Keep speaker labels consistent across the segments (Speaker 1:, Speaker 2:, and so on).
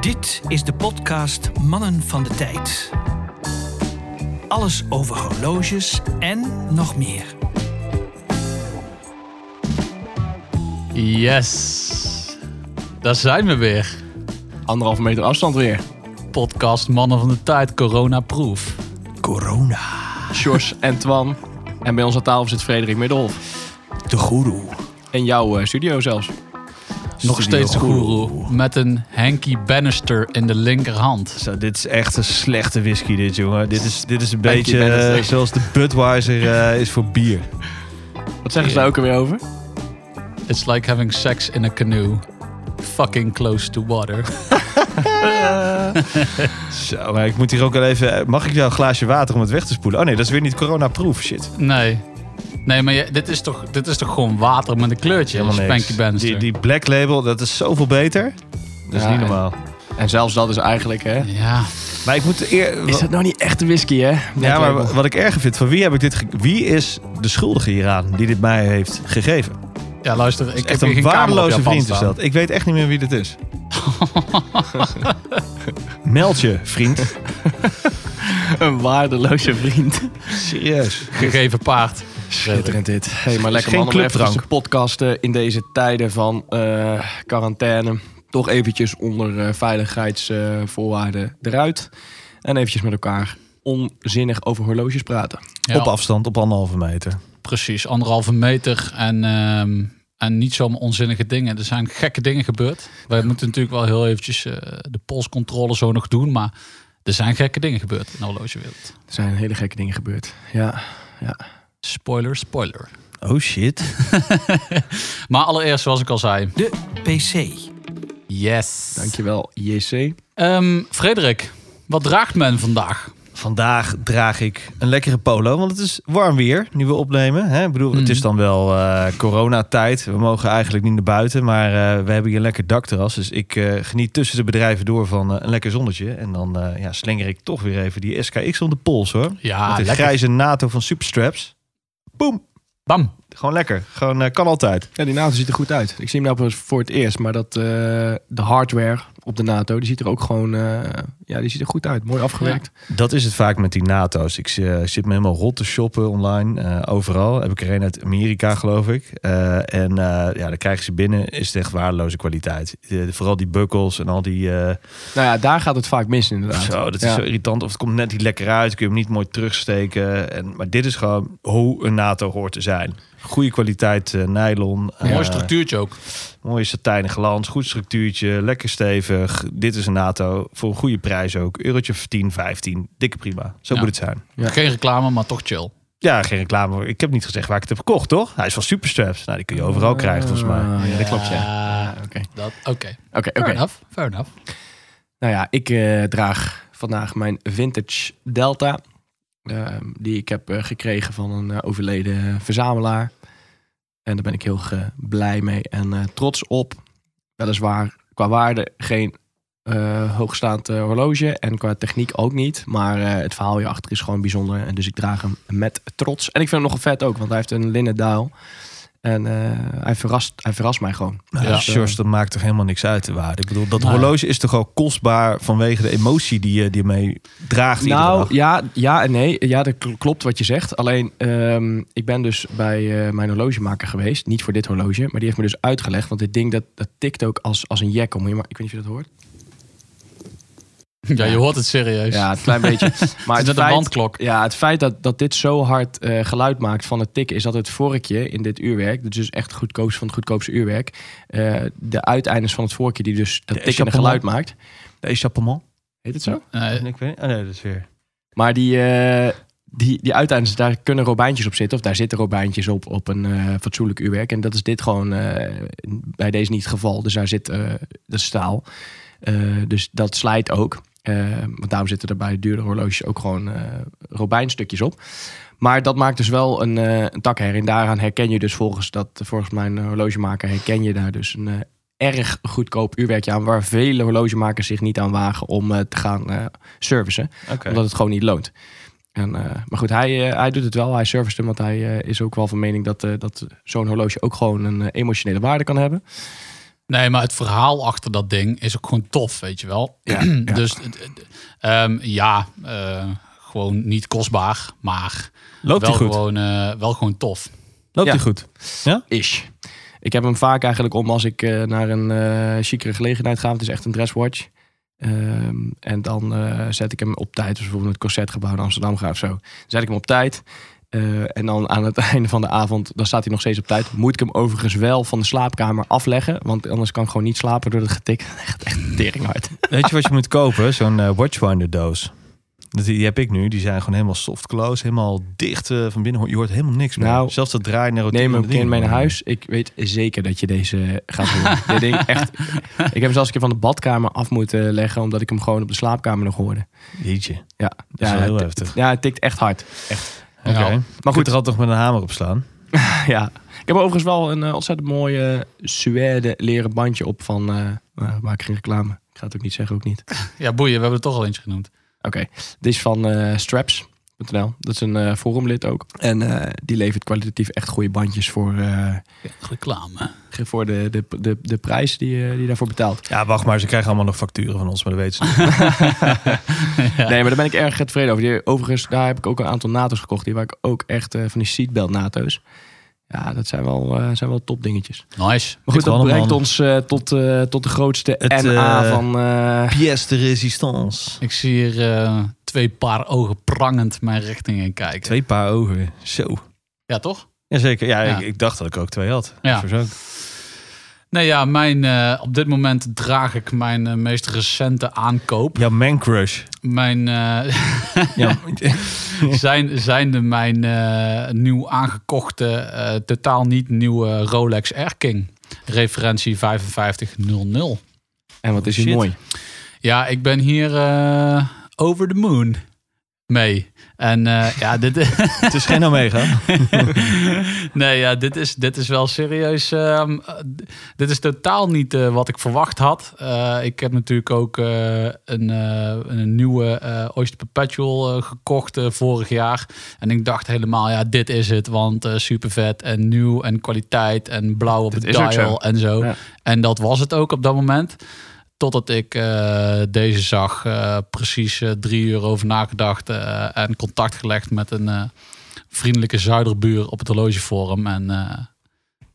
Speaker 1: Dit is de podcast Mannen van de Tijd. Alles over horloges en nog meer.
Speaker 2: Yes. Daar zijn we weer.
Speaker 3: Anderhalve meter afstand weer.
Speaker 2: Podcast Mannen van de Tijd, corona-proof.
Speaker 1: Corona,
Speaker 3: Sjors en Twan. En bij ons aan tafel zit Frederik Middelhof.
Speaker 1: de goeroe.
Speaker 3: En jouw eh, studio zelfs.
Speaker 2: Nog steeds guru. Met een Henky Bannister in de linkerhand.
Speaker 4: Zo, dit is echt een slechte whisky, dit jongen. Dit is, dit is een
Speaker 3: Dank je,
Speaker 4: beetje
Speaker 3: Dennis.
Speaker 4: eh, zoals de Budweiser eh, is voor bier.
Speaker 3: Wat zeggen ze daar ook alweer over?
Speaker 2: It's like having sex in a canoe. Fucking close to water.
Speaker 4: Zo, maar ik moet hier ook al even. eh, Mag ik jou een glaasje water om het weg te spoelen? Oh nee, dat is weer niet coronaproof. Shit.
Speaker 2: Nee. Nee, maar je- dit, is toch, dit is toch gewoon water met een kleurtje?
Speaker 4: Helemaal niks.
Speaker 2: Spanky Bannister.
Speaker 4: Die, die black label, dat is zoveel beter. Dat is
Speaker 3: Ja,
Speaker 4: niet normaal.
Speaker 3: En zelfs dat is eigenlijk, hè?
Speaker 2: Ja.
Speaker 4: Maar ik moet eer.
Speaker 3: Is dat nou niet echt whisky, hè?
Speaker 4: Ja, maar wa- wat ik erger vind, van wie heb ik dit. ge- Wie is de schuldige hieraan die dit mij heeft gegeven?
Speaker 2: ja, luister. Ik
Speaker 4: Het is
Speaker 2: heb
Speaker 4: echt
Speaker 2: hier geen
Speaker 4: een waardeloze
Speaker 2: camera op
Speaker 4: vriend is
Speaker 2: Japan
Speaker 4: dat. Ik weet echt niet meer wie dit is. Meld je, vriend.
Speaker 3: een waardeloze vriend.
Speaker 4: Serieus.
Speaker 2: staan. Gegeven paard.
Speaker 3: Schitterend dit. Hey, maar lekker
Speaker 4: geen
Speaker 3: man om even
Speaker 4: clubdrank.
Speaker 3: tussen podcasten in deze tijden van eh, quarantaine. Toch eventjes onder eh, veiligheidsvoorwaarden eh, eruit. En eventjes met elkaar onzinnig over horloges praten.
Speaker 2: Ja,
Speaker 4: Op afstand, op anderhalve meter.
Speaker 2: Precies, anderhalve meter en, ehm, en niet zomaar onzinnige dingen. Er zijn gekke dingen gebeurd. Wij moeten natuurlijk wel heel eventjes eh, de polscontrole zo nog doen, maar er zijn gekke dingen gebeurd in de horlogewereld.
Speaker 3: Er zijn hele gekke dingen gebeurd. Ja,
Speaker 2: Spoiler, spoiler.
Speaker 4: Oh shit.
Speaker 2: Maar allereerst, zoals ik al zei,
Speaker 1: De PC.
Speaker 2: yes.
Speaker 3: dankjewel JC.
Speaker 2: Ehm, Frederik, wat draagt men vandaag?
Speaker 4: Vandaag draag ik een lekkere polo, want het is warm weer nu we opnemen. Hè? Ik bedoel, het
Speaker 2: Mm.
Speaker 4: is dan wel eh coronatijd. We mogen eigenlijk niet naar buiten, maar eh, we hebben hier een lekker dakterras. Dus ik eh, geniet tussen de bedrijven door van eh, een lekker zonnetje. En dan eh, ja, slinger ik toch weer even die SKX om de pols hoor.
Speaker 2: Ja,
Speaker 4: Met de
Speaker 2: Ah, lekker.
Speaker 4: grijze NATO van Superstraps. Boom.
Speaker 2: Bam.
Speaker 4: Gewoon lekker. Gewoon eh, kan altijd.
Speaker 3: Ja, die NATO ziet er goed uit. Ik zie hem nou pas voor het eerst, maar dat, eh, de hardware op de NATO, die ziet er ook gewoon, eh, ja, die ziet er goed uit. Mooi afgewerkt.
Speaker 4: Dat is het vaak met die NATO's. Ik eh, zit me helemaal rot te shoppen online, eh, overal. Heb ik er een uit Amerika, geloof ik. Eh, en eh, ja, dan krijg je ze binnen, is het echt waardeloze kwaliteit. Eh, vooral die bukkels en al die... eh,
Speaker 3: Nou ja, daar gaat het vaak mis inderdaad.
Speaker 4: zo, dat is
Speaker 3: Ja.
Speaker 4: zo irritant. Of het komt net niet lekker uit, kun je hem niet mooi terugsteken. En, maar dit is gewoon hoe een NATO hoort te zijn. Goede kwaliteit eh, nylon.
Speaker 2: Mooi
Speaker 4: eh,
Speaker 2: structuurtje ook.
Speaker 4: Mooie satijnen glans, goed structuurtje, lekker stevig. Dit is een NATO voor een goede prijs ook. Eurotje voor 10, 15, dikke prima. Zo
Speaker 2: Ja.
Speaker 4: moet het zijn.
Speaker 3: Ja.
Speaker 2: Geen reclame, maar toch chill.
Speaker 4: Ja, geen reclame. voor. Ik heb niet gezegd waar ik het heb gekocht, toch? Hij is van Superstraps. Nou, die kun je overal krijgen, volgens mij.
Speaker 3: Ah, ja, dat klopt, ja.
Speaker 2: Ja,
Speaker 3: Oké,
Speaker 2: dat- Oké,
Speaker 3: oké,
Speaker 2: fair
Speaker 3: oké.
Speaker 2: enough, fair enough.
Speaker 3: Nou ja, ik eh, draag vandaag mijn vintage Delta. eh, die ik heb eh, gekregen van een eh, overleden verzamelaar. En daar ben ik heel eh, blij mee en eh, trots op. Weliswaar qua waarde geen eh, hoogstaand eh, horloge. En qua techniek ook niet. Maar eh, het verhaal hierachter is gewoon bijzonder. En dus ik draag hem met trots. En ik vind hem nogal vet ook, want hij heeft een linnen dial. En eh, hij, verrast, hij verrast mij gewoon.
Speaker 4: Nou,
Speaker 2: Ja.
Speaker 4: Sjors, dat maakt toch helemaal niks uit, de waarde. Ik bedoel, dat
Speaker 2: Nee.
Speaker 4: horloge is toch al kostbaar vanwege de emotie die je die je mee draagt iedere dag.
Speaker 3: Nou, ja, ja en nee. Ja, dat kl- klopt wat je zegt. Alleen, ehm, ik ben dus bij eh, mijn horlogemaker geweest. Niet voor dit horloge, maar die heeft me dus uitgelegd. Want dit ding, dat, dat tikt ook als, als een jek om. Je ma- Ik weet niet of je dat hoort.
Speaker 2: Ja, je hoort het serieus.
Speaker 3: Ja, een klein beetje. Maar
Speaker 2: het Dus- is net een bandklok.
Speaker 3: ja, het feit dat, dat dit zo hard eh, geluid maakt van het tikken... is dat het vorkje in dit uurwerk... dit is dus echt goedkoopst van het goedkoopste uurwerk... eh, de uiteindes van het vorkje die dus dat
Speaker 4: De
Speaker 3: tikkende
Speaker 4: échappement.
Speaker 3: geluid maakt...
Speaker 4: De Echappement?
Speaker 3: Heet het zo?
Speaker 2: Nee,
Speaker 4: Ik weet niet. Oh, nee, dat is weer...
Speaker 3: Maar die, eh, die, die uiteindes, daar kunnen robijntjes op zitten. Of daar zitten robijntjes op, op een eh, fatsoenlijk uurwerk. En dat is dit gewoon eh, bij deze niet het geval. Dus daar zit eh de staal. Eh, dus dat slijt ook. Eh, want daarom zitten er bij duurdere horloges ook gewoon eh, robijnstukjes op. Maar dat maakt dus wel een, eh een takher. En daaraan herken je dus volgens, dat, volgens mijn horlogemaker... herken je daar dus een eh, erg goedkoop uurwerkje aan... waar vele horlogemakers zich niet aan wagen om eh, te gaan eh, servicen
Speaker 4: Oké.
Speaker 3: omdat het gewoon niet loont. En, eh, maar goed, hij, eh, hij doet het wel. Hij serviced hem, want hij eh, is ook wel van mening dat, eh, dat zo'n horloge ook gewoon een eh, emotionele waarde kan hebben.
Speaker 2: Nee, maar het verhaal achter dat ding is ook gewoon tof, weet je wel.
Speaker 3: Ja, ja.
Speaker 2: Dus het- het- ehm, ja, eh, gewoon niet kostbaar, maar
Speaker 4: Loopt
Speaker 2: wel
Speaker 4: hij goed?
Speaker 2: gewoon, eh, wel gewoon tof.
Speaker 4: Loopt
Speaker 3: Ja.
Speaker 4: hij goed?
Speaker 3: Ish. Ik heb hem vaak eigenlijk om als ik eh, naar een eh chicere gelegenheid ga. Het is echt een dresswatch. Ehm, en dan eh, zet ik hem op tijd. Dus bijvoorbeeld naar het Concertgebouw in Amsterdam ga of zo. Dan zet ik hem op tijd. Eh, en dan aan het einde van de avond, dan staat hij nog steeds op tijd. Moet ik hem overigens wel van de slaapkamer afleggen. Want anders kan ik gewoon niet slapen door dat getik. Echt, echt tering hard.
Speaker 4: Weet je wat je moet kopen? Zo'n eh, Watchwinder doos. Dat, die, die heb ik nu. Die zijn gewoon helemaal soft close. Helemaal dicht eh, van binnen. Je hoort helemaal niks meer.
Speaker 3: Nou,
Speaker 4: Zelfs dat draaien naar
Speaker 3: Neem hem een keer mee naar huis. Ik weet zeker dat je deze gaat doen. Dit ding echt, ik heb hem zelfs een keer van de badkamer af moeten leggen. Omdat ik hem gewoon op de slaapkamer nog hoorde.
Speaker 4: Jeetje, dat
Speaker 3: Ja, ja,
Speaker 4: is wel heel
Speaker 3: het-
Speaker 4: heftig.
Speaker 3: Ja, het tikt echt hard.
Speaker 4: Oké.
Speaker 2: Ja.
Speaker 4: Maar
Speaker 3: Maar
Speaker 4: goed,
Speaker 3: goed.
Speaker 4: er had toch met een hamer op slaan.
Speaker 3: ja. Ik heb er overigens wel een eh, ontzettend mooie suède leren bandje op van... eh, nou, maak geen reclame. Ik ga het ook niet zeggen, ook niet. Oké,
Speaker 2: Ja, boeien, we hebben er toch al eentje genoemd.
Speaker 3: dit is van eh, Straps.nl. Dat is een eh, forumlid ook. En eh, die levert kwalitatief echt goede bandjes voor, eh,
Speaker 2: Reclame.
Speaker 3: voor de, de, de, de prijs die, eh, die daarvoor betaalt.
Speaker 4: Ja, wacht maar. Ze krijgen allemaal nog facturen van ons, maar dat weten ze niet.
Speaker 3: Nee, maar daar ben ik erg tevreden over. Die, overigens, daar heb ik ook een aantal NATO's gekocht. Die waar ik ook echt eh, van die seatbelt NATO's. Ja, dat zijn wel, eh, zijn wel top dingetjes.
Speaker 2: Nice.
Speaker 3: Maar goed,
Speaker 4: Ik
Speaker 3: dat
Speaker 4: wel,
Speaker 3: brengt
Speaker 4: man.
Speaker 3: ons eh, tot, eh, tot de grootste
Speaker 4: Het,
Speaker 3: NA
Speaker 4: eh,
Speaker 3: van... eh,
Speaker 4: Pièce de résistance.
Speaker 2: Ik zie hier eh, twee paar ogen prangend mijn richting in kijken.
Speaker 4: Twee paar ogen. Zo.
Speaker 2: Ja, toch?
Speaker 4: Jazeker. Ja,
Speaker 2: Ja.
Speaker 4: Ik, ik dacht dat ik ook twee had.
Speaker 2: Ja.
Speaker 4: Voor zo.
Speaker 2: Nee, ja, mijn, eh, op dit moment draag ik mijn eh, meest recente aankoop.
Speaker 4: Jouw man crush.
Speaker 2: Mijn, eh,
Speaker 4: Ja.
Speaker 2: zijn, zijnde mijn eh, nieuw aangekochte, eh, totaal niet nieuwe Rolex Air King. Referentie 5500.
Speaker 3: en wat is
Speaker 4: shit.
Speaker 3: hij mooi.
Speaker 2: Ja, ik ben hier eh, over the moon mee. En eh, ja, dit,
Speaker 4: Het is geen Omega.
Speaker 2: nee, ja, dit, is, dit is wel serieus. ehm, eh, d- dit is totaal niet eh, wat ik verwacht had. Eh, ik heb natuurlijk ook eh, een, eh, een nieuwe eh Oyster Perpetual eh, gekocht eh, vorig jaar. En ik dacht helemaal, ja, dit is het. Want eh, super vet en nieuw en kwaliteit en blauw op de
Speaker 3: is ook
Speaker 2: dial
Speaker 3: zo.
Speaker 2: en zo.
Speaker 3: Ja.
Speaker 2: En dat was het ook op dat moment. Totdat ik eh, deze zag, eh, precies eh, drie uur over nagedacht eh, en contact gelegd met een eh, vriendelijke zuiderbuur op het horlogeforum en, eh,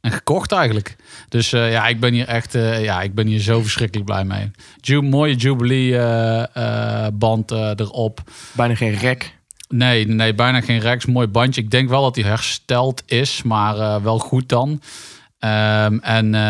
Speaker 2: en gekocht eigenlijk. Dus eh, ja, ik ben hier echt, eh, ja, ik ben hier zo verschrikkelijk blij mee. Ju mooie Jubilee eh, eh, band eh, erop.
Speaker 3: Bijna geen rek.
Speaker 2: Nee, nee, bijna geen reks. Mooi bandje. Ik denk wel dat hij hersteld is, maar eh, wel goed dan. Ehm, en eh,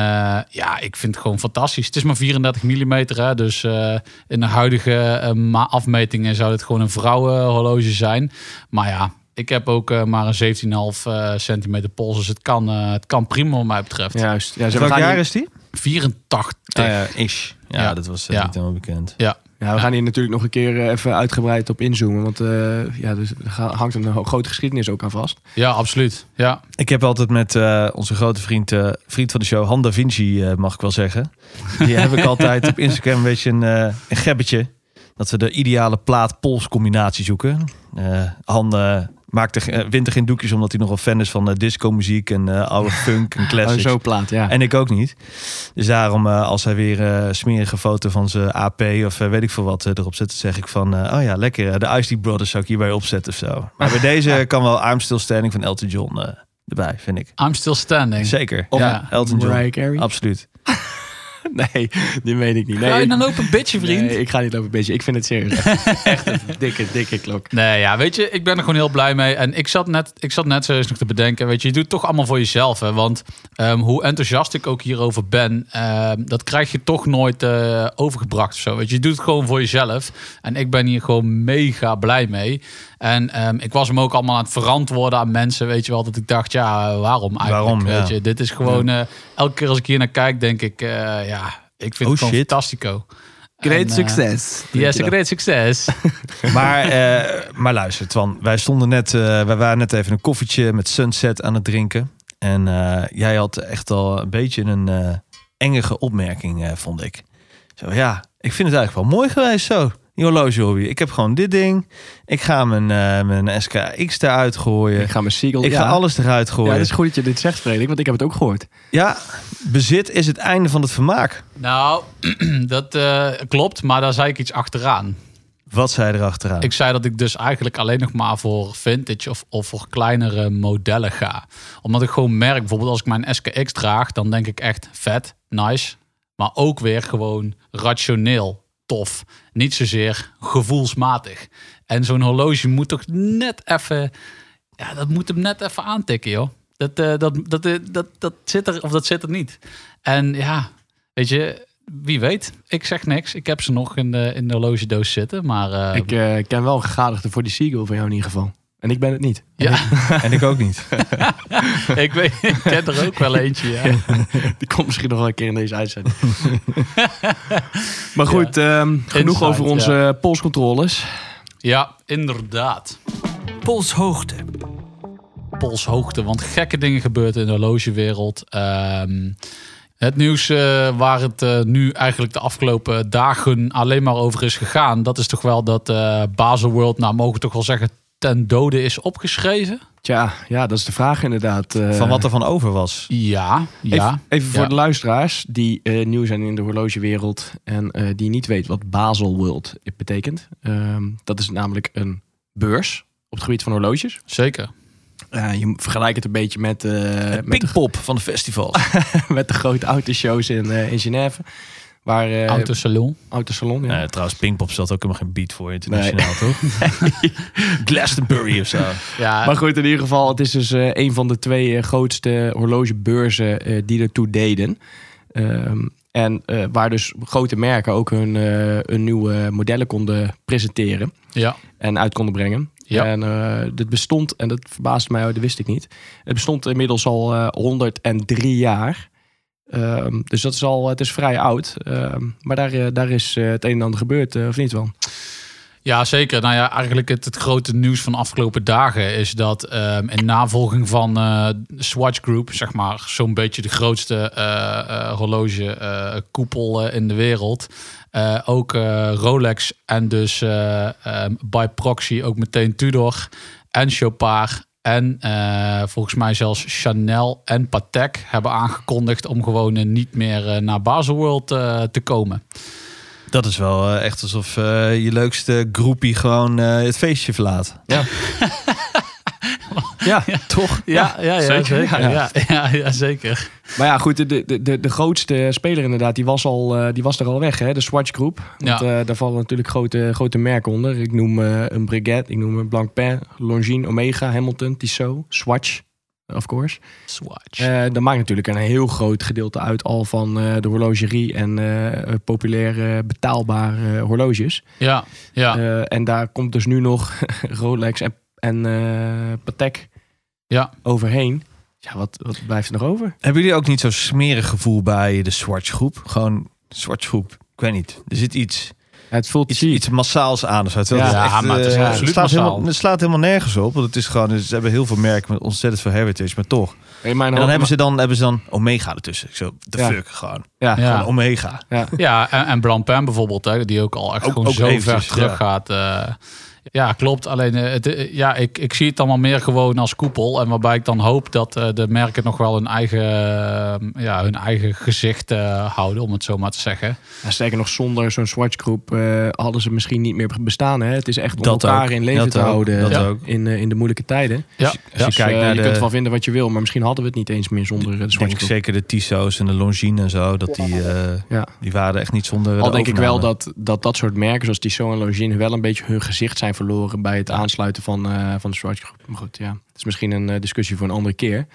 Speaker 2: ja, ik vind het gewoon fantastisch. Het is maar 34 mm, hè, dus eh, in de huidige eh, ma- afmetingen zou dit gewoon een vrouwenhorloge zijn. Maar ja, ik heb ook eh, maar een 17,5 eh, centimeter pols, dus het kan, eh, het kan prima wat mij betreft.
Speaker 3: Juist. Ja, ze- we,
Speaker 4: Welk
Speaker 3: gaan
Speaker 4: jaar
Speaker 3: hier,
Speaker 4: is die?
Speaker 2: 84.
Speaker 4: Ah, ja, ish. Ja,
Speaker 2: Ja.
Speaker 4: dat was eh,
Speaker 2: Ja.
Speaker 4: niet helemaal bekend.
Speaker 2: ja.
Speaker 3: ja, we gaan hier natuurlijk nog een keer eh, even uitgebreid op inzoomen. Want eh, ja, dus, er ga- hangt een ho- grote geschiedenis ook aan vast.
Speaker 2: ja, absoluut. Ja.
Speaker 4: Ik heb altijd met eh, onze grote vriend, eh, vriend van de show, Han Da Vinci, eh, mag ik wel zeggen. Die heb ik altijd op Instagram een beetje een, eh een gebbetje. Dat we de ideale plaat-pols combinatie zoeken. Eh, Han eh, maakt er, eh, wint er geen doekjes omdat hij nogal fan is van eh, disco-muziek en eh, oude funk en
Speaker 3: Oh,
Speaker 4: classics.
Speaker 3: zo plaat, ja.
Speaker 4: En ik ook niet. Dus daarom, eh, als hij weer eh, smerige foto van zijn AP of eh, weet ik veel wat eh, erop zet, dan zeg ik van, eh, oh ja, lekker. eh, de Ice Brothers zou ik hierbij opzetten of zo. Maar bij deze kan wel I'm Still Standing van Elton John eh, erbij, vind ik.
Speaker 2: I'm still standing.
Speaker 4: Zeker.
Speaker 2: Of-
Speaker 4: ja, Elton John.
Speaker 3: Mariah Carey?
Speaker 4: Absoluut.
Speaker 3: Nee, die meen ik niet.
Speaker 2: Ga je
Speaker 3: Nee,
Speaker 2: dan lopen bitchen, vriend?
Speaker 3: nee, ik ga niet over een beetje. Ik vind het serieus. echt- echt een dikke, dikke klok.
Speaker 2: Nee, ja, weet je, ik ben er gewoon heel blij mee. En ik zat net, ik zat net serieus nog te bedenken, weet je, je doet het toch allemaal voor jezelf. Hè? Want ehm, hoe enthousiast ik ook hierover ben, ehm, dat krijg je toch nooit eh, overgebracht of zo. Weet je, je doet het gewoon voor jezelf. En ik ben hier gewoon mega blij mee. En ehm, ik was hem ook allemaal aan het verantwoorden aan mensen, weet je wel. Dat ik dacht, ja, waarom eigenlijk?
Speaker 4: Waarom, ja.
Speaker 2: weet je, dit is gewoon, eh, elke keer als ik hier naar kijk, denk ik, eh, ja, ik vind
Speaker 4: Oh,
Speaker 2: het gewoon
Speaker 4: shit.
Speaker 2: fantastico.
Speaker 3: Great
Speaker 2: En, eh,
Speaker 3: succes.
Speaker 2: Yes, great succes.
Speaker 4: Maar, eh, maar luister, Twan. Wij stonden net, eh, wij waren net even een koffietje met Sunset aan het drinken. En eh, jij had echt al een beetje een eh engere opmerking, eh, vond ik. Zo ja, ik vind het eigenlijk wel mooi geweest zo. die horloge hobby. Ik heb gewoon dit ding. Ik ga mijn, eh, mijn SKX eruit gooien.
Speaker 3: Ik ga mijn Siegel...
Speaker 4: Ik
Speaker 3: ja.
Speaker 4: ga alles eruit
Speaker 3: Ja,
Speaker 4: gooien.
Speaker 3: dat
Speaker 4: Ja,
Speaker 3: is goed dat je dit zegt, Frederik, want ik heb het ook gehoord.
Speaker 4: bezit is het einde van het vermaak.
Speaker 2: Nou, dat eh, klopt, maar daar zei ik iets achteraan.
Speaker 4: Wat zij erachteraan.
Speaker 2: Ik zei dat ik dus eigenlijk alleen nog maar voor vintage of, of voor kleinere modellen ga. Omdat ik gewoon merk, bijvoorbeeld als ik mijn SKX draag, dan denk ik echt vet, nice. Maar ook weer gewoon rationeel, tof. Niet zozeer gevoelsmatig. En zo'n horloge moet toch net even, ja, dat moet hem net even aantikken, joh. Dat, eh, dat, dat, eh, dat, dat zit er of dat zit er niet. En ja, weet je, wie weet. Ik zeg niks. Ik heb ze nog in de, in de horlogedoos zitten, maar... eh,
Speaker 3: ik eh, ken wel gegadigden voor die Siegel van jou in ieder geval. En ik ben het niet.
Speaker 2: Ja,
Speaker 4: En ik ook niet.
Speaker 3: Eh.
Speaker 2: ik, weet, ik ken er ook wel eentje. Ja.
Speaker 3: Die komt misschien nog wel een keer in deze uitzending. maar goed, ehm, genoeg
Speaker 2: Inside,
Speaker 3: over onze polscontroles.
Speaker 2: ja, inderdaad.
Speaker 1: polshoogte,
Speaker 2: Polshoogte, want gekke dingen gebeuren in de horlogewereld. Ehm, het nieuws eh, waar het eh, nu eigenlijk de afgelopen dagen alleen maar over is gegaan... dat is toch wel dat eh Baselworld, nou mogen we toch wel zeggen... ten dode is opgeschreven?
Speaker 3: Tja, ja, dat is de vraag inderdaad. eh.
Speaker 4: Van wat er van over was.
Speaker 2: Ja, ja.
Speaker 3: Even, even voor
Speaker 2: Ja.
Speaker 3: de luisteraars die eh, nieuw zijn in de horlogewereld en eh, die niet weet wat Basel World betekent. Ehm, dat is namelijk een beurs op het gebied van horloges.
Speaker 2: zeker.
Speaker 3: Eh, je vergelijkt het een beetje met, eh, met, de,
Speaker 4: Pinkpop van de festivals.
Speaker 3: met de grote autoshows in, eh, in Genève. Waar, eh,
Speaker 2: Autosalon.
Speaker 3: Autosalon, ja.
Speaker 4: Nee, Eh, trouwens, Pinkpop zat ook helemaal geen beat voor internationaal, toch? Glastonbury of zo.
Speaker 2: Ja,
Speaker 3: Maar goed, in ieder geval, het is dus eh, een van de twee eh, grootste horlogebeurzen eh, die ertoe deden. Ehm, en eh, waar dus grote merken ook hun, eh, hun nieuwe modellen konden presenteren
Speaker 2: ja.
Speaker 3: en uit konden brengen.
Speaker 2: Ja.
Speaker 3: En eh, dit bestond, en dat verbaasde mij, oh, dat wist ik niet. Het bestond inmiddels al eh, 103 jaar. Ehm, dus dat is al, het is vrij oud. Ehm, maar daar, eh, daar is eh, het een en ander gebeurd, eh, of niet wel?
Speaker 2: Ja, zeker. Nou ja, eigenlijk het, het grote nieuws van de afgelopen dagen is dat ehm, in navolging van eh, Swatch Group, zeg maar, zo'n beetje de grootste eh, horlogekoepel eh, in de wereld, eh, ook eh, Rolex en dus eh, ehm, by proxy ook meteen Tudor en Chopard en eh, volgens mij zelfs Chanel en Patek hebben aangekondigd om gewoon eh, niet meer eh, naar Baselworld eh, te komen.
Speaker 4: Dat is wel eh, echt alsof eh, je leukste groepie gewoon eh, het feestje verlaat.
Speaker 3: Ja. ja, toch?
Speaker 2: Ja, ja, ja,
Speaker 3: zeker.
Speaker 2: zeker.
Speaker 3: Ja.
Speaker 2: Ja, ja, ja, zeker.
Speaker 3: Maar ja, goed, de, de, de, de grootste speler inderdaad, die was, al, eh, die was er al weg, hè? de Swatch Groep. Want eh, daar vallen natuurlijk grote, grote merken onder. Ik noem eh, een Breguet, ik noem een Blancpain, Longines, Omega, Hamilton, Tissot, Swatch, of course.
Speaker 2: Swatch.
Speaker 3: Eh dat maakt natuurlijk een heel groot gedeelte uit al van eh, de horlogerie en eh, populaire betaalbare eh, horloges.
Speaker 2: ja, ja,
Speaker 3: Eh, en daar komt dus nu nog Rolex en, en eh, Patek
Speaker 2: Ja.
Speaker 3: overheen. Ja, wat, wat blijft er nog over?
Speaker 4: Hebben jullie ook niet zo'n smerig gevoel bij de Swatch groep? Gewoon Swatch groep, ik weet niet. Er zit iets,
Speaker 3: Het voelt
Speaker 4: iets,
Speaker 3: cheap.
Speaker 4: iets massaals aan. of zo. Terwijl
Speaker 2: Ja,
Speaker 4: echt,
Speaker 2: maar het is
Speaker 4: eh,
Speaker 2: absoluut
Speaker 4: het slaat,
Speaker 2: massaal.
Speaker 4: helemaal, het slaat helemaal nergens op. Want het is gewoon, ze hebben heel veel merken met ontzettend veel heritage, maar toch.
Speaker 3: In mijn
Speaker 4: En dan
Speaker 3: hoofd-
Speaker 4: hebben ze dan, hebben ze dan Omega ertussen. Ik zo, de
Speaker 3: Ja.
Speaker 4: fuck, gewoon.
Speaker 3: Ja,
Speaker 2: Ja.
Speaker 4: Gewoon Omega.
Speaker 2: ja, en, en Bram Pen bijvoorbeeld, hè, die ook al echt
Speaker 4: Ook-
Speaker 2: gewoon
Speaker 4: ook
Speaker 2: zo
Speaker 4: eventjes,
Speaker 2: ver terug
Speaker 4: ja.
Speaker 2: gaat. eh. ja, klopt. Alleen, eh, het, eh, ja, ik, ik zie het allemaal meer gewoon als koepel. En waarbij ik dan hoop dat eh, de merken nog wel hun eigen, eh, ja, hun eigen gezicht eh, houden, om het zo maar te zeggen.
Speaker 3: Ja, sterker nog, zonder zo'n Swatch-groep eh, hadden ze misschien niet meer bestaan. Hè? Het is echt om
Speaker 4: Dat
Speaker 3: elkaar
Speaker 4: ook.
Speaker 3: in leven
Speaker 4: Dat
Speaker 3: te
Speaker 4: ook.
Speaker 3: houden
Speaker 4: Dat
Speaker 3: eh,
Speaker 4: ook.
Speaker 3: In, eh, in de moeilijke tijden.
Speaker 2: Ja,
Speaker 4: Als je
Speaker 2: ja.
Speaker 4: kijkt
Speaker 3: dus, eh,
Speaker 4: naar
Speaker 3: je
Speaker 4: de...
Speaker 3: kunt ervan vinden wat je wil, maar misschien hadden we het niet eens meer zonder eh, de
Speaker 4: Ik denk
Speaker 3: Swatch-groep.
Speaker 4: zeker de Tissot's en de Longines en zo. Dat die, eh,
Speaker 3: Ja.
Speaker 4: die waren echt niet zonder. eh,
Speaker 3: Al
Speaker 4: de
Speaker 3: denk ik wel
Speaker 4: overname.
Speaker 3: dat, dat dat soort merken zoals Tissot en Longines wel een beetje hun gezicht zijn verloren bij het aansluiten van, eh, van de Swatch-groep. Maar goed, ja, het is misschien een eh, discussie voor een andere keer.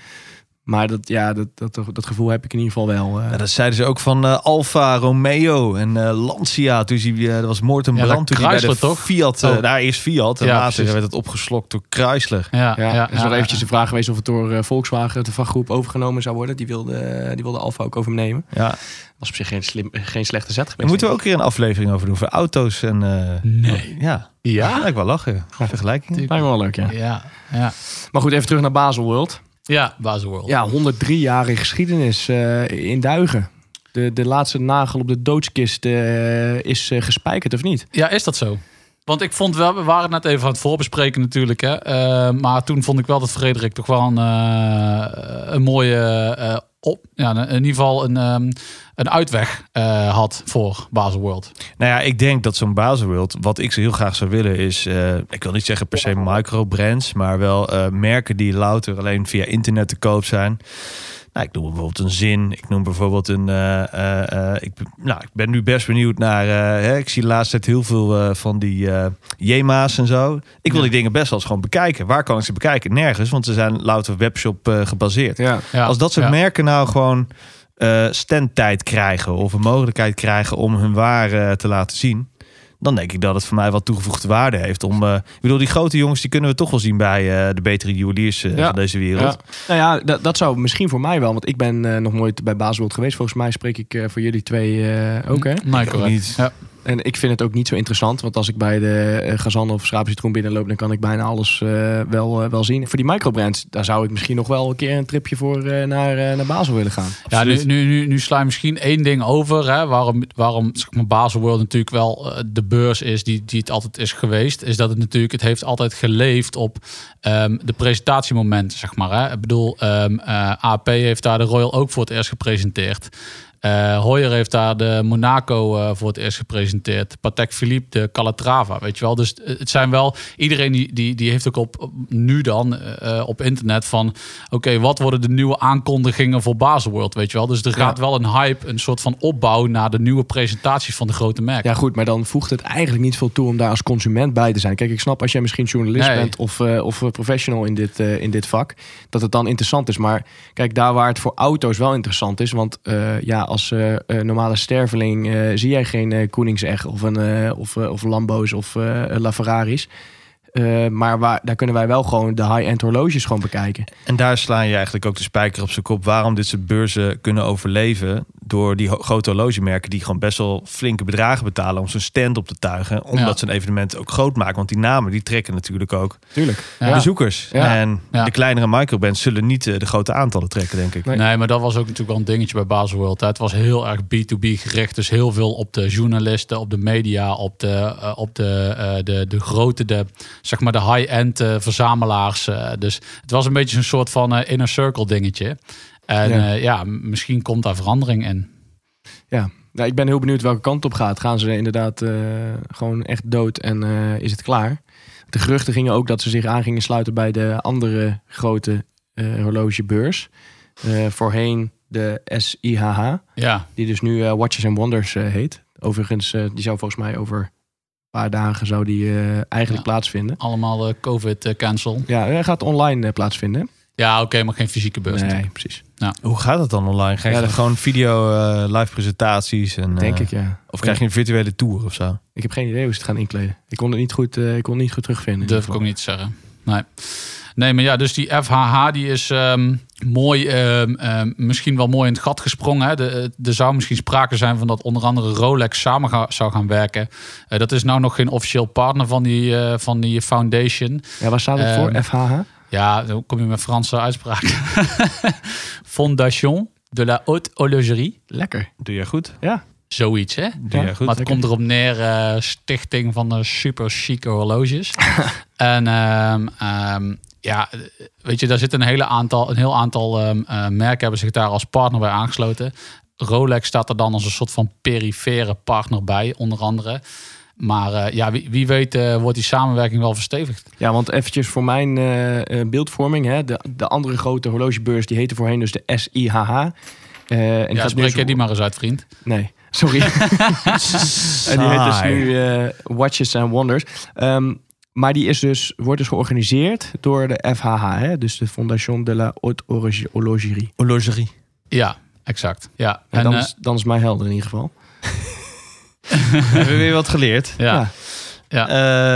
Speaker 3: Maar dat, ja, dat, dat, dat gevoel heb ik in ieder geval wel. eh.
Speaker 4: Ja, dat zeiden ze ook van eh, Alfa Romeo en eh, Lancia. Toen zie je, eh, dat was moord en
Speaker 2: Ja, dat
Speaker 4: brand. Toen die bij de
Speaker 2: Chrysler, toch?
Speaker 4: Fiat, eh,
Speaker 2: Oh.
Speaker 4: daar eerst Fiat. En
Speaker 2: Ja,
Speaker 4: later
Speaker 2: precies.
Speaker 4: werd het opgeslokt door Chrysler.
Speaker 2: Ja,
Speaker 3: Ja,
Speaker 2: ja,
Speaker 3: er is nog
Speaker 2: ja,
Speaker 3: eventjes
Speaker 2: ja.
Speaker 3: de vraag geweest of het door eh, Volkswagen, de vakgroep, overgenomen zou worden. Die wilde, eh, die wilde Alfa ook overnemen.
Speaker 4: Ja.
Speaker 3: was op zich geen, slim, geen slechte zet
Speaker 4: Daar
Speaker 3: geweest.
Speaker 4: moeten we ook weer een aflevering over doen voor auto's. En, eh,
Speaker 2: Nee.
Speaker 4: Ja,
Speaker 2: Ja?
Speaker 4: ik wel lachen. Vergelijking.
Speaker 3: Lijkt me wel leuk, ja.
Speaker 2: Ja, ja.
Speaker 3: Maar goed, even terug naar Baselworld.
Speaker 2: Ja, Baselworld.
Speaker 3: Ja, 103-jarige geschiedenis eh, in duigen. de, de laatste nagel op de doodskist eh, is eh, gespijkerd of niet?
Speaker 2: Ja, is dat zo? Want ik vond wel, we waren net even aan het voorbespreken natuurlijk. Hè? Eh, maar toen vond ik wel dat Frederik toch wel een, eh, een mooie, eh, op, ja, in ieder geval een, ehm, een uitweg eh, had voor Baselworld.
Speaker 4: Nou ja, ik denk dat zo'n Baselworld, wat ik zo heel graag zou willen, is, eh, ik wil niet zeggen per se microbrands, maar wel eh, merken die louter alleen via internet te koop zijn. Nou, ik noem bijvoorbeeld een zin. Ik noem bijvoorbeeld een. eh, eh, eh, ik, ben- nou, ik ben nu best benieuwd naar. eh, hè, ik zie de laatste tijd heel veel eh, van die eh, Jema's en zo. Ik wil
Speaker 2: Ja.
Speaker 4: die dingen best wel eens gewoon bekijken. Waar kan ik ze bekijken? Nergens, want ze zijn louter webshop eh, gebaseerd.
Speaker 3: Ja.
Speaker 2: Ja,
Speaker 4: Als dat soort
Speaker 2: ja.
Speaker 4: merken nou gewoon eh standtijd krijgen of een mogelijkheid krijgen om hun waar eh, te laten zien, dan denk ik dat het voor mij wat toegevoegde waarde heeft. Om, eh, ik bedoel, die grote jongens die kunnen we toch wel zien bij eh, de betere juweliers eh,
Speaker 3: Ja.
Speaker 4: van deze wereld.
Speaker 3: Nou ja, dat, dat zou misschien voor mij wel, want ik ben eh, nog nooit bij Baselworld geweest. Volgens mij spreek ik eh, voor jullie twee eh, ook, hè?
Speaker 2: Nee, correct.
Speaker 4: niet.
Speaker 2: Ja.
Speaker 3: En ik vind het ook niet zo interessant, want als ik bij de eh, Gazanne of Schaapcitroen binnenloop, dan kan ik bijna alles eh, wel, eh, wel zien. Voor die microbrands, daar zou ik misschien nog wel een keer een tripje voor eh, naar, eh, naar Basel willen gaan.
Speaker 2: Ja, nu, nu, nu, nu sla je misschien één ding over. Hè, waarom waarom zeg maar, Baselworld natuurlijk wel eh, de beurs is die, die het altijd is geweest. Is dat het natuurlijk, het heeft altijd geleefd op ehm, de presentatiemomenten, zeg maar. Hè. Ik bedoel, ehm eh, AP heeft daar de Royal ook voor het eerst gepresenteerd. Eh Hoyer heeft daar de Monaco eh, voor het eerst gepresenteerd. Patek Philippe, de Calatrava, weet je wel. Dus eh, het zijn wel... Iedereen die, die, die heeft ook op, op- nu dan eh, op internet van... Oké, wat worden de nieuwe aankondigingen voor Baselworld, weet je wel. Dus er gaat wel een hype, een soort van opbouw... naar de nieuwe presentaties van de grote merken.
Speaker 3: Ja, goed, maar dan voegt het eigenlijk niet veel toe om daar als consument bij te zijn. Kijk, ik snap als jij misschien journalist
Speaker 2: Nee.
Speaker 3: bent of, eh, of eh, professional in dit, eh, in dit vak, dat het dan interessant is. Maar kijk, daar waar het voor auto's wel interessant is, want eh, ja, als eh, eh, normale sterveling eh, zie jij geen eh Koenigsegg of, een, eh, of, eh, of Lambo's of eh LaFerraris. Eh, maar waar, daar kunnen wij wel gewoon de high-end horloges gewoon bekijken.
Speaker 4: En daar sla je eigenlijk ook de spijker op zijn kop. Waarom dit soort beurzen kunnen overleven door die ho- grote horlogemerken die gewoon best wel flinke bedragen betalen om zo'n stand op te tuigen. Omdat
Speaker 2: Ja.
Speaker 4: ze een evenement ook groot maken. Want die namen die trekken natuurlijk ook
Speaker 3: Tuurlijk.
Speaker 2: Ja. Dus
Speaker 4: bezoekers.
Speaker 3: Ja.
Speaker 4: En
Speaker 2: Ja.
Speaker 4: de kleinere microbands zullen niet eh, de grote aantallen trekken, denk ik.
Speaker 3: Nee.
Speaker 2: Nee, maar dat was ook natuurlijk wel een dingetje bij Baselworld. hè. Het was heel erg B2B gericht. Dus heel veel op de journalisten, op de media, op de, eh, op de, eh, de, de grote, de, zeg maar de high-end eh, verzamelaars. eh. dus het was een beetje een soort van eh, inner circle dingetje. En
Speaker 3: Ja.
Speaker 2: ja, ja m- misschien komt daar verandering in.
Speaker 3: Ja. Nou, ik ben heel benieuwd welke kant op gaat. Gaan ze inderdaad eh, gewoon echt dood en eh, is het klaar? De geruchten gingen ook dat ze zich aan gingen sluiten bij de andere grote eh, horlogebeurs. Eh, voorheen de SIHH,
Speaker 2: Ja,
Speaker 3: die dus nu eh, Watches and Wonders eh, heet. Overigens, eh, die zou volgens mij over een paar dagen zou die, eh, eigenlijk plaatsvinden.
Speaker 2: allemaal eh, COVID-cancel.
Speaker 3: Ja, hij gaat online eh, plaatsvinden.
Speaker 2: Ja, oké, maar geen fysieke beurs. natuurlijk.
Speaker 3: precies.
Speaker 4: Hoe gaat dat dan online? Krijg je
Speaker 3: Ja, dat-
Speaker 4: gewoon video, eh, live presentaties? En,
Speaker 3: Denk
Speaker 4: eh,
Speaker 3: ik, ja.
Speaker 4: Of krijg je een virtuele tour of zo?
Speaker 3: Ik heb geen idee hoe ze het gaan inkleden. Ik kon het niet goed, eh, ik kon het niet goed terugvinden.
Speaker 2: Durf ik ook niet te zeggen. Nee. nee, maar ja, dus die FHH die is ehm, mooi, ehm, ehm, misschien wel mooi in het gat gesprongen. Hè. De, eh, er zou misschien sprake zijn van dat onder andere Rolex samen ga- zou gaan werken. Eh, dat is nou nog geen officieel partner van die, eh, van die foundation.
Speaker 3: Ja, waar staat het voor?
Speaker 2: Ehm,
Speaker 3: FHH?
Speaker 2: Ja, dan kom je met Franse uitspraak. Fondation de la Haute Horlogerie.
Speaker 3: Lekker.
Speaker 4: Doe jij goed?
Speaker 2: Zoiets, hè?
Speaker 4: Doe
Speaker 3: Ja,
Speaker 4: jij goed?
Speaker 2: maar het komt erop neer, eh, stichting van de super chique horloges. en ehm, ehm, ja, weet je, daar zit een, hele aantal, een heel aantal ehm, eh, merken hebben zich daar als partner bij aangesloten. Rolex staat er dan als een soort van perifere partner bij, onder andere. Maar eh, ja, wie, wie weet eh, wordt die samenwerking wel verstevigd.
Speaker 3: Ja, want eventjes voor mijn eh, eh, beeldvorming. Hè, de, de andere grote horlogebeurs, die heette voorheen dus de SIHH. Eh, en
Speaker 2: ja,
Speaker 3: gaat nu
Speaker 2: spreek
Speaker 3: zo-
Speaker 2: jij die maar eens uit, vriend.
Speaker 3: Nee, sorry. en die heet dus nu eh, Watches and Wonders. Ehm, maar die is dus, wordt dus georganiseerd door de FHH. Hè, dus de Fondation de la Haute Horloge- Horlogerie.
Speaker 4: Horlogerie.
Speaker 2: Ja, exact. Ja,
Speaker 3: En,
Speaker 2: en,
Speaker 3: dan,
Speaker 2: eh,
Speaker 3: is, dan is mij helder in ieder geval.
Speaker 4: Hebben we weer wat geleerd?
Speaker 2: ja.
Speaker 3: ja.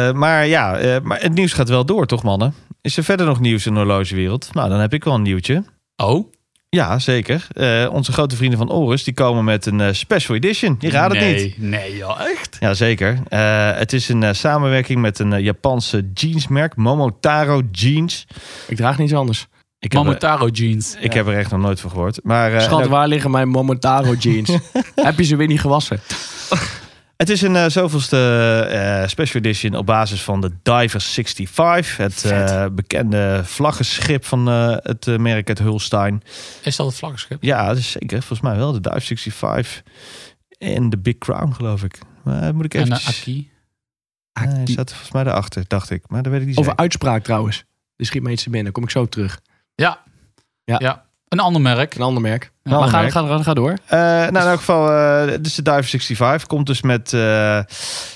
Speaker 4: Eh, maar ja, eh, maar het nieuws gaat wel door, toch mannen? Is er verder nog nieuws in de horlogewereld? Nou, dan heb ik wel een nieuwtje.
Speaker 2: Oh,
Speaker 4: Ja, zeker. Eh, onze grote vrienden van Oris, die komen met een eh, special edition. Je raadt het
Speaker 2: nee,
Speaker 4: niet.
Speaker 2: Nee, joh, echt?
Speaker 4: Jazeker. Eh het is een eh, samenwerking met een eh, Japanse jeansmerk, Momotaro Jeans.
Speaker 3: Ik draag niets anders.
Speaker 4: Ik heb, eh, er,
Speaker 2: Mamotaro jeans.
Speaker 4: ik heb er echt nog nooit van gehoord. Maar eh,
Speaker 3: Schat, waar liggen mijn Momotaro jeans? Heb je ze weer niet gewassen?
Speaker 4: het is een eh, zoveelste eh, special edition op basis van de Diver 65. Het eh, bekende vlaggenschip van eh, het eh, merk uit Hulstein.
Speaker 2: Is dat het vlaggenschip?
Speaker 4: Ja, dat is zeker. Volgens mij wel. De Dive 65 en de Big Crown, geloof ik. Maar eh, moet ik
Speaker 2: En
Speaker 4: even...
Speaker 2: de Aki.
Speaker 4: Nee, hij zat volgens mij daarachter, dacht ik. Maar dat weet ik niet
Speaker 3: Ah, Over
Speaker 4: zeker.
Speaker 3: uitspraak trouwens. Er schiet me iets te binnen. Kom ik zo op terug.
Speaker 2: Ja.
Speaker 3: Ja.
Speaker 2: Een ander merk.
Speaker 3: Een ander merk.
Speaker 2: Een
Speaker 3: maar
Speaker 4: ander
Speaker 3: ga,
Speaker 4: merk.
Speaker 3: Ga, ga, ga door.
Speaker 4: Eh, nou, in elk geval, eh, dit is de Diver 65. Komt dus met eh,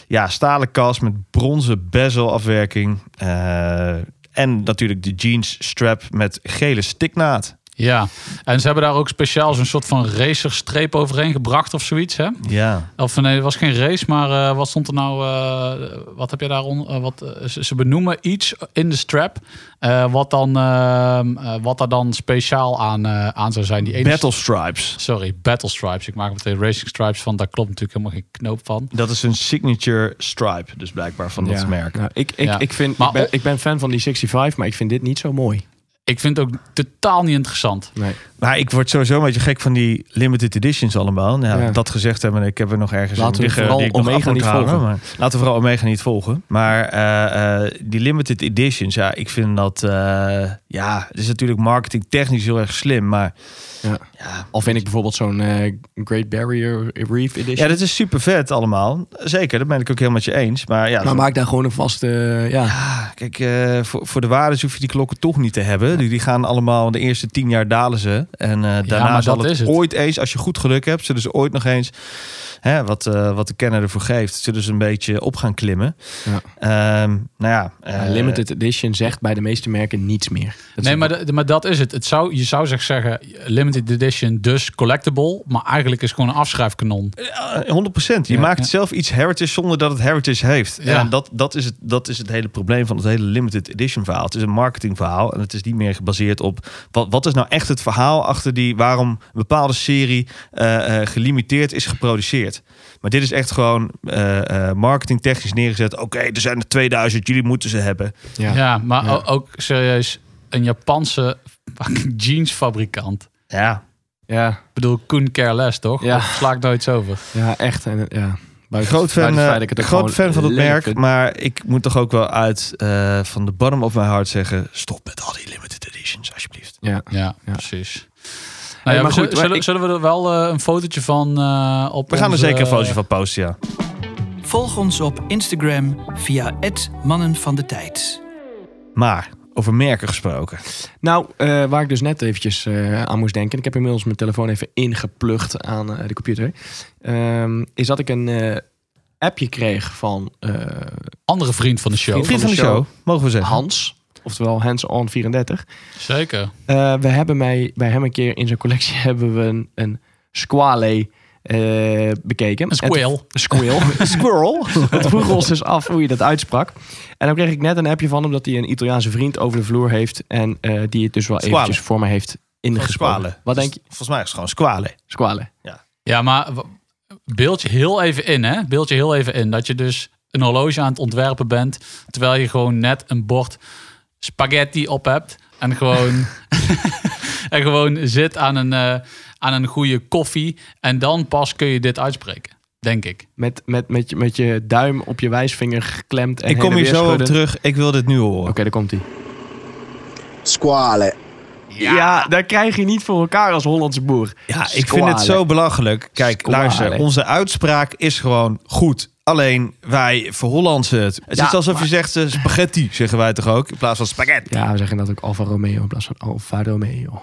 Speaker 4: ja, stalen kast, met bronzen bezelafwerking. Eh, en natuurlijk de jeans strap met gele stiknaad.
Speaker 2: Ja. En ze hebben daar ook speciaal zo'n soort van racerstreep overheen gebracht of zoiets, hè?
Speaker 4: Ja.
Speaker 2: Of nee, het was geen race, maar eh, wat stond er nou? eh, wat heb je daaron? eh, wat, eh, ze, ze benoemen iets in de strap. eh, wat, dan, ehm, eh, wat daar dan speciaal aan, eh, aan zou zijn. Die ene
Speaker 4: Battle Stripes.
Speaker 2: Sorry, Battle Stripes. Ik maak meteen Racing Stripes van. Daar klopt natuurlijk helemaal geen knoop van.
Speaker 4: Dat is een signature stripe, dus blijkbaar van dat
Speaker 3: Ja.
Speaker 4: merk.
Speaker 3: Nou, ik, ik,
Speaker 2: Ja.
Speaker 3: ik, vind,
Speaker 2: Maar
Speaker 3: ik, ben,
Speaker 2: op-
Speaker 3: ik ben fan van die 65, maar ik vind dit niet zo mooi.
Speaker 2: Ik vind het ook totaal niet interessant.
Speaker 3: Nee.
Speaker 4: Maar ik word sowieso een beetje gek van die limited editions allemaal. Nou,
Speaker 3: Ja.
Speaker 4: Dat gezegd hebben, ik heb er nog ergens
Speaker 3: Laten we
Speaker 4: een liggen
Speaker 3: vooral
Speaker 4: die ik nog
Speaker 3: Omega
Speaker 4: af moet
Speaker 3: niet
Speaker 4: halen,
Speaker 3: volgen.
Speaker 4: maar- laten we vooral Omega niet volgen. Maar eh, eh, die limited editions, ja, ik vind dat... eh, ja, het is natuurlijk marketingtechnisch heel erg slim, maar...
Speaker 3: Ja. Al vind ik bijvoorbeeld zo'n eh, Great Barrier Reef Edition.
Speaker 4: Ja, dat is super vet allemaal. Zeker, dat ben ik ook helemaal met je eens. Maar ja,
Speaker 3: maar
Speaker 4: zo-
Speaker 3: maak daar gewoon een vaste... ja.
Speaker 4: Ah, Kijk, eh, voor, voor de waardes hoef je die klokken toch niet te hebben. Die, die gaan allemaal de eerste tien jaar dalen ze. En eh, daarna
Speaker 2: maar
Speaker 4: zal
Speaker 2: dat
Speaker 4: het,
Speaker 2: is het.
Speaker 4: ooit eens, als je goed geluk hebt, zullen ze ooit nog eens, hè, wat, eh, wat de kenner ervoor geeft, zullen ze een beetje op gaan klimmen.
Speaker 3: Ja.
Speaker 4: Ehm, nou ja,
Speaker 3: Ja,
Speaker 4: eh,
Speaker 3: limited Edition zegt bij de meeste merken niets meer. Dat
Speaker 2: nee,
Speaker 3: is-
Speaker 2: maar, de- maar dat is het. het zou, je zou zeg zeggen, limited edition, dus collectible. Maar eigenlijk is het gewoon een afschrijfkanon.
Speaker 4: eh, 100%. Je
Speaker 2: Ja,
Speaker 4: maakt
Speaker 2: ja.
Speaker 4: zelf iets heritage zonder dat het heritage heeft.
Speaker 2: Ja.
Speaker 4: En dat, dat, is het, dat is het hele probleem van het hele limited edition verhaal. Het is een marketingverhaal en het is niet meer gebaseerd op... wat, wat is nou echt het verhaal achter die... waarom een bepaalde serie eh, eh, gelimiteerd is geproduceerd. Maar dit is echt gewoon eh, eh, marketingtechnisch neergezet. Oké, er zijn er 2000, jullie moeten ze hebben.
Speaker 3: ja.
Speaker 2: Ja, maar
Speaker 3: Ja.
Speaker 2: o- ook serieus, een Japanse fucking jeansfabrikant.
Speaker 4: Ja,
Speaker 3: Ja,
Speaker 2: Ik bedoel, Koen Careless, toch?
Speaker 3: Ja.
Speaker 2: Ja. Sla ik nooit over.
Speaker 3: ja, echt. En, eh, ja. Buiten-
Speaker 4: groot fan,
Speaker 3: buiten het
Speaker 4: eh,
Speaker 3: feit dat ik het ook
Speaker 4: groot
Speaker 3: gewoon
Speaker 4: fan van het
Speaker 3: lelijk
Speaker 4: merk.
Speaker 3: vind.
Speaker 4: Maar ik moet toch ook wel uit eh, van de bottom of mijn hart zeggen... stop met al die limited editions, alsjeblieft.
Speaker 3: Ja.
Speaker 2: Ja,
Speaker 3: Ja.
Speaker 2: precies.
Speaker 3: Hey,
Speaker 2: Nou ja,
Speaker 3: maar
Speaker 2: maar
Speaker 3: goed, maar
Speaker 2: zullen,
Speaker 3: ik-
Speaker 2: zullen we er wel eh, een fotootje van eh, op
Speaker 4: We gaan er
Speaker 2: onze-
Speaker 4: zeker een fotootje van posten, ja.
Speaker 1: Volg ons op Instagram via het Mannen van de Tijd.
Speaker 4: Maar, over merken gesproken.
Speaker 3: Nou, eh, waar ik dus net eventjes eh, aan moest denken. en Ik heb inmiddels mijn telefoon even ingeplucht aan eh, de computer. ehm, is dat ik een eh, appje kreeg van eh,
Speaker 2: Andere vriend van de show.
Speaker 3: Vriend
Speaker 4: Vriend van de show, mogen we zeggen.
Speaker 3: Hans. Oftewel Hands On 34.
Speaker 2: Zeker.
Speaker 3: Eh, we hebben mij, bij hem een keer in zijn collectie hebben we een, een squale eh, bekeken.
Speaker 2: Een squirrel.
Speaker 3: Een squirrel. squirrel. Het vroeg ons dus af hoe je dat uitsprak. En dan kreeg ik net een appje van hem dat hij een Italiaanse vriend over de vloer heeft. En eh, die het dus wel
Speaker 4: Squale.
Speaker 3: eventjes voor mij heeft ingesproken.
Speaker 4: Squalen.
Speaker 3: Wat denk je?
Speaker 4: Volgens mij is het gewoon squalen.
Speaker 3: Squale.
Speaker 2: Ja, maar w- beeld je heel even in, hè? Beeld je heel even in dat je dus een horloge aan het ontwerpen bent, terwijl je gewoon net een bord spaghetti op hebt en gewoon, en gewoon zit aan een, eh, aan een goede koffie en dan pas kun je dit uitspreken, denk ik.
Speaker 3: Met, met, met, je, met je duim op je wijsvinger geklemd. En
Speaker 4: Ik kom
Speaker 3: heen
Speaker 4: hier
Speaker 3: en weer
Speaker 4: zo op
Speaker 3: schudden.
Speaker 4: terug. Ik wil dit nu horen.
Speaker 3: Oké, daar komt hij.
Speaker 5: Squale.
Speaker 3: Ja. daar krijg je niet voor elkaar als Hollandse boer.
Speaker 4: Ja, ik vind
Speaker 3: Squalen.
Speaker 4: het zo belachelijk. Kijk,
Speaker 3: Squalen.
Speaker 4: luister. Onze uitspraak is gewoon goed. Alleen, wij verhollandsen het. Het
Speaker 3: Ja,
Speaker 4: is alsof je zegt eh, spaghetti, zeggen wij toch ook? In plaats van spaghetti.
Speaker 3: Ja, we zeggen dat ook Alfa Romeo in plaats van Alfa Romeo.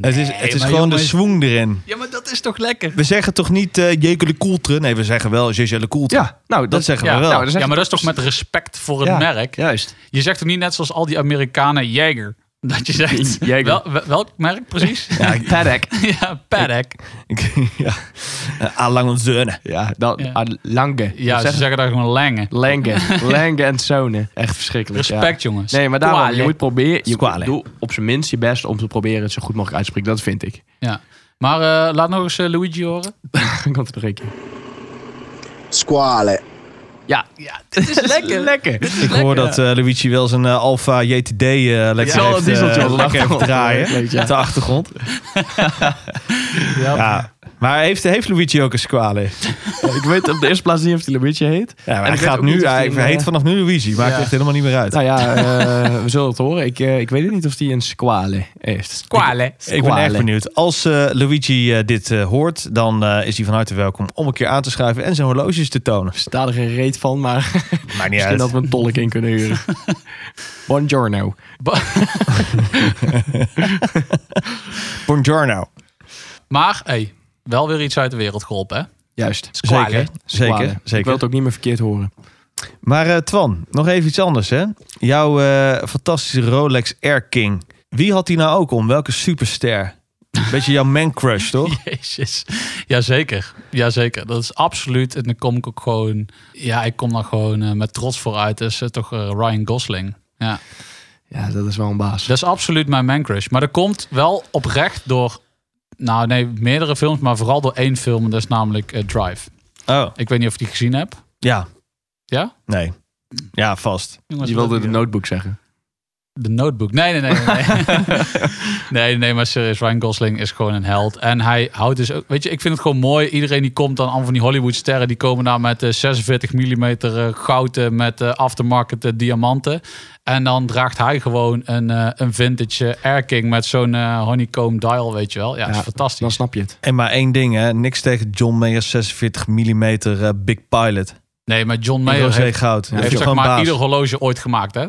Speaker 4: het is, het is
Speaker 2: maar
Speaker 4: gewoon de
Speaker 2: jongens-
Speaker 4: swoon erin.
Speaker 2: Ja, maar dat is toch lekker?
Speaker 4: We zeggen toch niet eh Jekyll de Coultre? Nee, we zeggen wel Jekyll de Coultre.
Speaker 3: Ja, nou, dat,
Speaker 4: dat zeggen
Speaker 2: Ja,
Speaker 4: we wel.
Speaker 3: nou, dat is
Speaker 2: Ja, maar dat is toch met respect voor het
Speaker 3: Ja,
Speaker 2: merk?
Speaker 3: Juist.
Speaker 2: Je zegt toch niet net zoals al die Amerikanen, Jager? Dat je zegt,
Speaker 3: Jaeger.
Speaker 2: Wel- wel- welk merk precies?
Speaker 3: Ja, paddock.
Speaker 2: ja, Paddock.
Speaker 4: ja. Eh, à lange zeunen.
Speaker 3: Ja, dan,
Speaker 2: Ja.
Speaker 3: ah,
Speaker 2: Ja,
Speaker 3: Lange. Dat
Speaker 2: ze
Speaker 3: zeggen-
Speaker 2: zeggen daar gewoon lange.
Speaker 3: Lange. Lange en Sone. Echt verschrikkelijk. ja.
Speaker 2: Respect, jongens.
Speaker 3: Nee, maar daarom, je
Speaker 2: Kwaalijk.
Speaker 3: moet proberen, je
Speaker 4: Squale.
Speaker 3: doe op zijn minst je best om te proberen het zo goed mogelijk uit te spreken. Dat vind ik.
Speaker 2: Ja. Maar eh, laat nog eens eh, Luigi horen.
Speaker 3: Dan komt het nog een keer.
Speaker 5: Squale.
Speaker 3: Ja, ja dit is lekker, lekker.
Speaker 4: Ik hoor dat eh, Luigi wel zijn eh, Alfa JTD eh lekker
Speaker 3: Ja,
Speaker 4: heeft,
Speaker 3: die zult je
Speaker 4: eh,
Speaker 3: wel
Speaker 4: lekker
Speaker 3: lachen.
Speaker 4: heeft draaien.
Speaker 3: Leuk, ja.
Speaker 4: Op de achtergrond.
Speaker 2: Ja.
Speaker 4: Ja. Maar heeft, heeft Luigi ook een squale?
Speaker 3: ik weet op de eerste plaats niet of die beetje heet.
Speaker 4: Ja, maar
Speaker 3: ik
Speaker 4: hij
Speaker 3: weet
Speaker 4: gaat
Speaker 3: ook niet
Speaker 4: nu,
Speaker 3: of die
Speaker 4: hij
Speaker 3: een,
Speaker 4: heet
Speaker 3: eh,
Speaker 4: vanaf nu Luigi. Maakt
Speaker 2: ja.
Speaker 4: echt helemaal niet meer uit.
Speaker 3: Nou ja, eh, we zullen het horen. Ik, eh, ik weet het niet of die een squale heeft.
Speaker 2: Kwalen.
Speaker 4: Ik ben erg
Speaker 3: Squale.
Speaker 4: benieuwd. Als eh, Luigi eh, dit eh, hoort, dan eh, is hij van harte welkom om een keer aan te schuiven en zijn horloges te tonen.
Speaker 3: Er staat er geen reet van, maar
Speaker 4: Maar niet
Speaker 3: misschien
Speaker 4: uit.
Speaker 3: dat we een tolk in kunnen huren. Buongiorno.
Speaker 4: Buongiorno.
Speaker 2: Maar, hey, wel weer iets uit de wereld geholpen, hè?
Speaker 3: Juist.
Speaker 2: Squale.
Speaker 4: Zeker,
Speaker 3: Squale.
Speaker 4: zeker,
Speaker 3: Ik wil
Speaker 4: zeker.
Speaker 3: het ook niet meer verkeerd horen.
Speaker 4: Maar eh, Twan, nog even iets anders hè. Jouw eh, fantastische Rolex Air King. Wie had die nou ook om? Welke superster? Beetje jouw man crush, toch?
Speaker 2: Jezus. Jazeker. Jazeker. Dat is absoluut. En dan kom ik ook gewoon... Ja, ik kom daar gewoon eh, met trots voor uit. Dat is eh, toch eh, Ryan Gosling. Ja.
Speaker 3: Ja, dat is wel een baas.
Speaker 2: Dat is absoluut mijn man crush. Maar dat komt wel oprecht door... Nou nee, meerdere films, maar vooral door één film. En dat is namelijk eh, Drive.
Speaker 4: Oh,
Speaker 2: Ik weet niet of je die gezien hebt.
Speaker 4: ja.
Speaker 2: Ja?
Speaker 4: Nee. Ja, vast.
Speaker 2: Jongens,
Speaker 3: Je wilde
Speaker 2: dat-
Speaker 3: de notebook zeggen.
Speaker 2: De notebook. Nee, nee, nee. Nee, nee. nee, nee, maar serieus. Ryan Gosling is gewoon een held. En hij houdt dus ook... Weet je, ik vind het gewoon mooi. Iedereen die komt dan, allemaal van die Hollywood-sterren... die komen daar met eh, 46 mm goud eh, met eh, aftermarket eh, diamanten. En dan draagt hij gewoon een, eh, een vintage eh, Air King... met zo'n eh, honeycomb dial, weet je wel. Ja, dat is
Speaker 3: Ja, Dan
Speaker 2: fantastisch.
Speaker 3: snap je het.
Speaker 4: En maar één ding hè. Niks tegen John Mayer 46 mm Big Pilot.
Speaker 2: Nee, maar John
Speaker 4: Nee,
Speaker 2: Mayer heeft,
Speaker 4: goud. Dat is
Speaker 2: heeft zeg
Speaker 4: gewoon
Speaker 2: maar
Speaker 4: baas.
Speaker 2: ieder horloge ooit gemaakt, hè?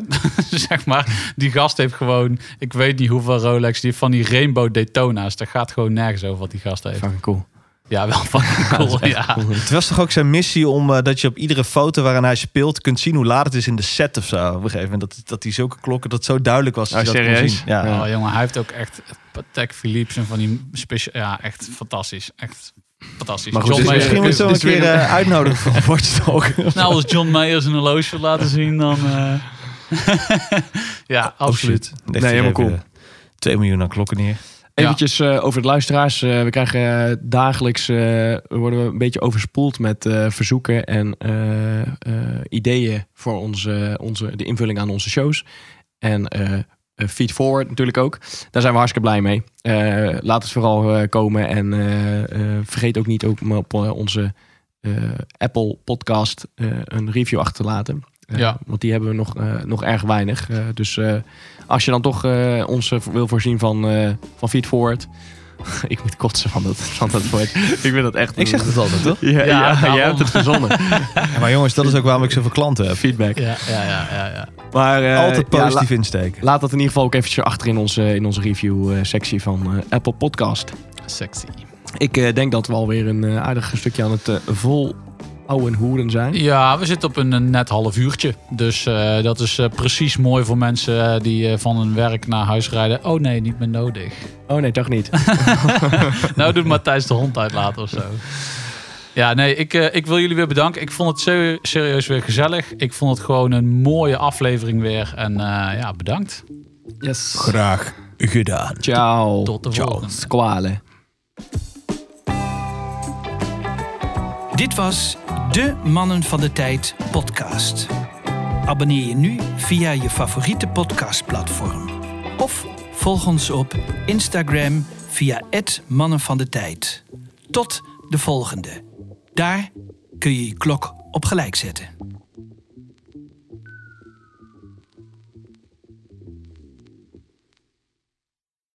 Speaker 2: zeg maar, die gast heeft gewoon... Ik weet niet hoeveel Rolex, die heeft van die Rainbow Daytona's. Daar gaat gewoon nergens over wat die gast heeft.
Speaker 3: Fucking cool.
Speaker 2: Ja, wel fucking cool. Ja.
Speaker 4: Het was toch ook zijn missie om eh, dat je op iedere foto waarin hij speelt kunt zien hoe laat het is in de set of zo. Op een gegeven moment dat, dat hij zulke klokken dat zo duidelijk was.
Speaker 2: Ah,
Speaker 4: Dat
Speaker 3: Oh,
Speaker 4: je dat kon
Speaker 3: serieus?
Speaker 4: zien. Ja. Dus
Speaker 2: Oh, jongen, hij heeft ook echt Patek Philips en van die special. Ja, echt fantastisch. Echt fantastisch.
Speaker 3: Maar goed,
Speaker 2: John
Speaker 4: Dus
Speaker 3: is
Speaker 2: Mayer.
Speaker 4: misschien
Speaker 3: dit
Speaker 4: moeten we
Speaker 3: is
Speaker 4: hem een keer
Speaker 3: weer een-
Speaker 4: eh, uitnodigen voor een watchdog.
Speaker 2: Nou, als John Mayer zijn horloge wil laten zien, dan. eh, ja,
Speaker 4: Oh,
Speaker 2: absoluut.
Speaker 4: Nee,
Speaker 3: helemaal cool.
Speaker 4: 2 eh, miljoen aan klokken neer.
Speaker 2: Ja.
Speaker 3: Eventjes eh, over de luisteraars. Eh, we krijgen eh, dagelijks eh, worden we een beetje overspoeld met eh, verzoeken en eh, eh, ideeën voor onze, onze, de invulling aan onze shows. En eh eh, feed forward natuurlijk ook. Daar zijn we hartstikke blij mee. Eh, laat het vooral eh, komen en eh, eh, vergeet ook niet ook om op eh, onze eh, Apple podcast eh, een review achter te laten. Eh,
Speaker 2: Ja.
Speaker 3: Want die hebben we nog, eh, nog erg weinig. Eh, dus eh, als je dan toch eh, ons eh, wil voorzien van, eh van Feed Forward. ik moet kotsen van dat, van dat woord. ik ben dat echt.
Speaker 4: Ik zeg het altijd, toch?
Speaker 3: Ja, ja,
Speaker 2: daarom.
Speaker 3: jij hebt het verzonnen. Eh,
Speaker 4: Ja, maar jongens, dat is ook waarom ik zoveel klanten heb.
Speaker 3: Feedback.
Speaker 2: Ja, ja, ja, ja. ja.
Speaker 3: Maar, eh,
Speaker 4: Altijd
Speaker 3: ja, la-
Speaker 4: positief insteken.
Speaker 3: laat dat in ieder geval ook eventjes achter in onze, in onze review eh, sectie van eh, Apple Podcast.
Speaker 2: Sexy.
Speaker 3: Ik eh, denk dat we alweer een eh, aardig stukje aan het eh, vol ouwen hoeren zijn.
Speaker 2: Ja, we zitten op een eh, net half uurtje. Dus eh, dat is eh, precies mooi voor mensen eh, die eh, van hun werk naar huis rijden. Oh nee, niet meer nodig.
Speaker 3: Oh nee, toch niet.
Speaker 2: nou doet Matthijs de hond uitlaten of zo. Ja, nee, ik, eh, ik wil jullie weer bedanken. Ik vond het serie- serieus weer gezellig. Ik vond het gewoon een mooie aflevering weer. En eh, ja, bedankt.
Speaker 3: Yes.
Speaker 4: Graag gedaan.
Speaker 3: Ciao.
Speaker 2: Tot de volgende.
Speaker 3: Squalen.
Speaker 1: Dit was de Mannen van de Tijd podcast. Abonneer je nu via je favoriete podcastplatform. Of volg ons op Instagram via het Mannen van de Tijd. Tot de volgende. Daar kun je je klok op gelijk zetten.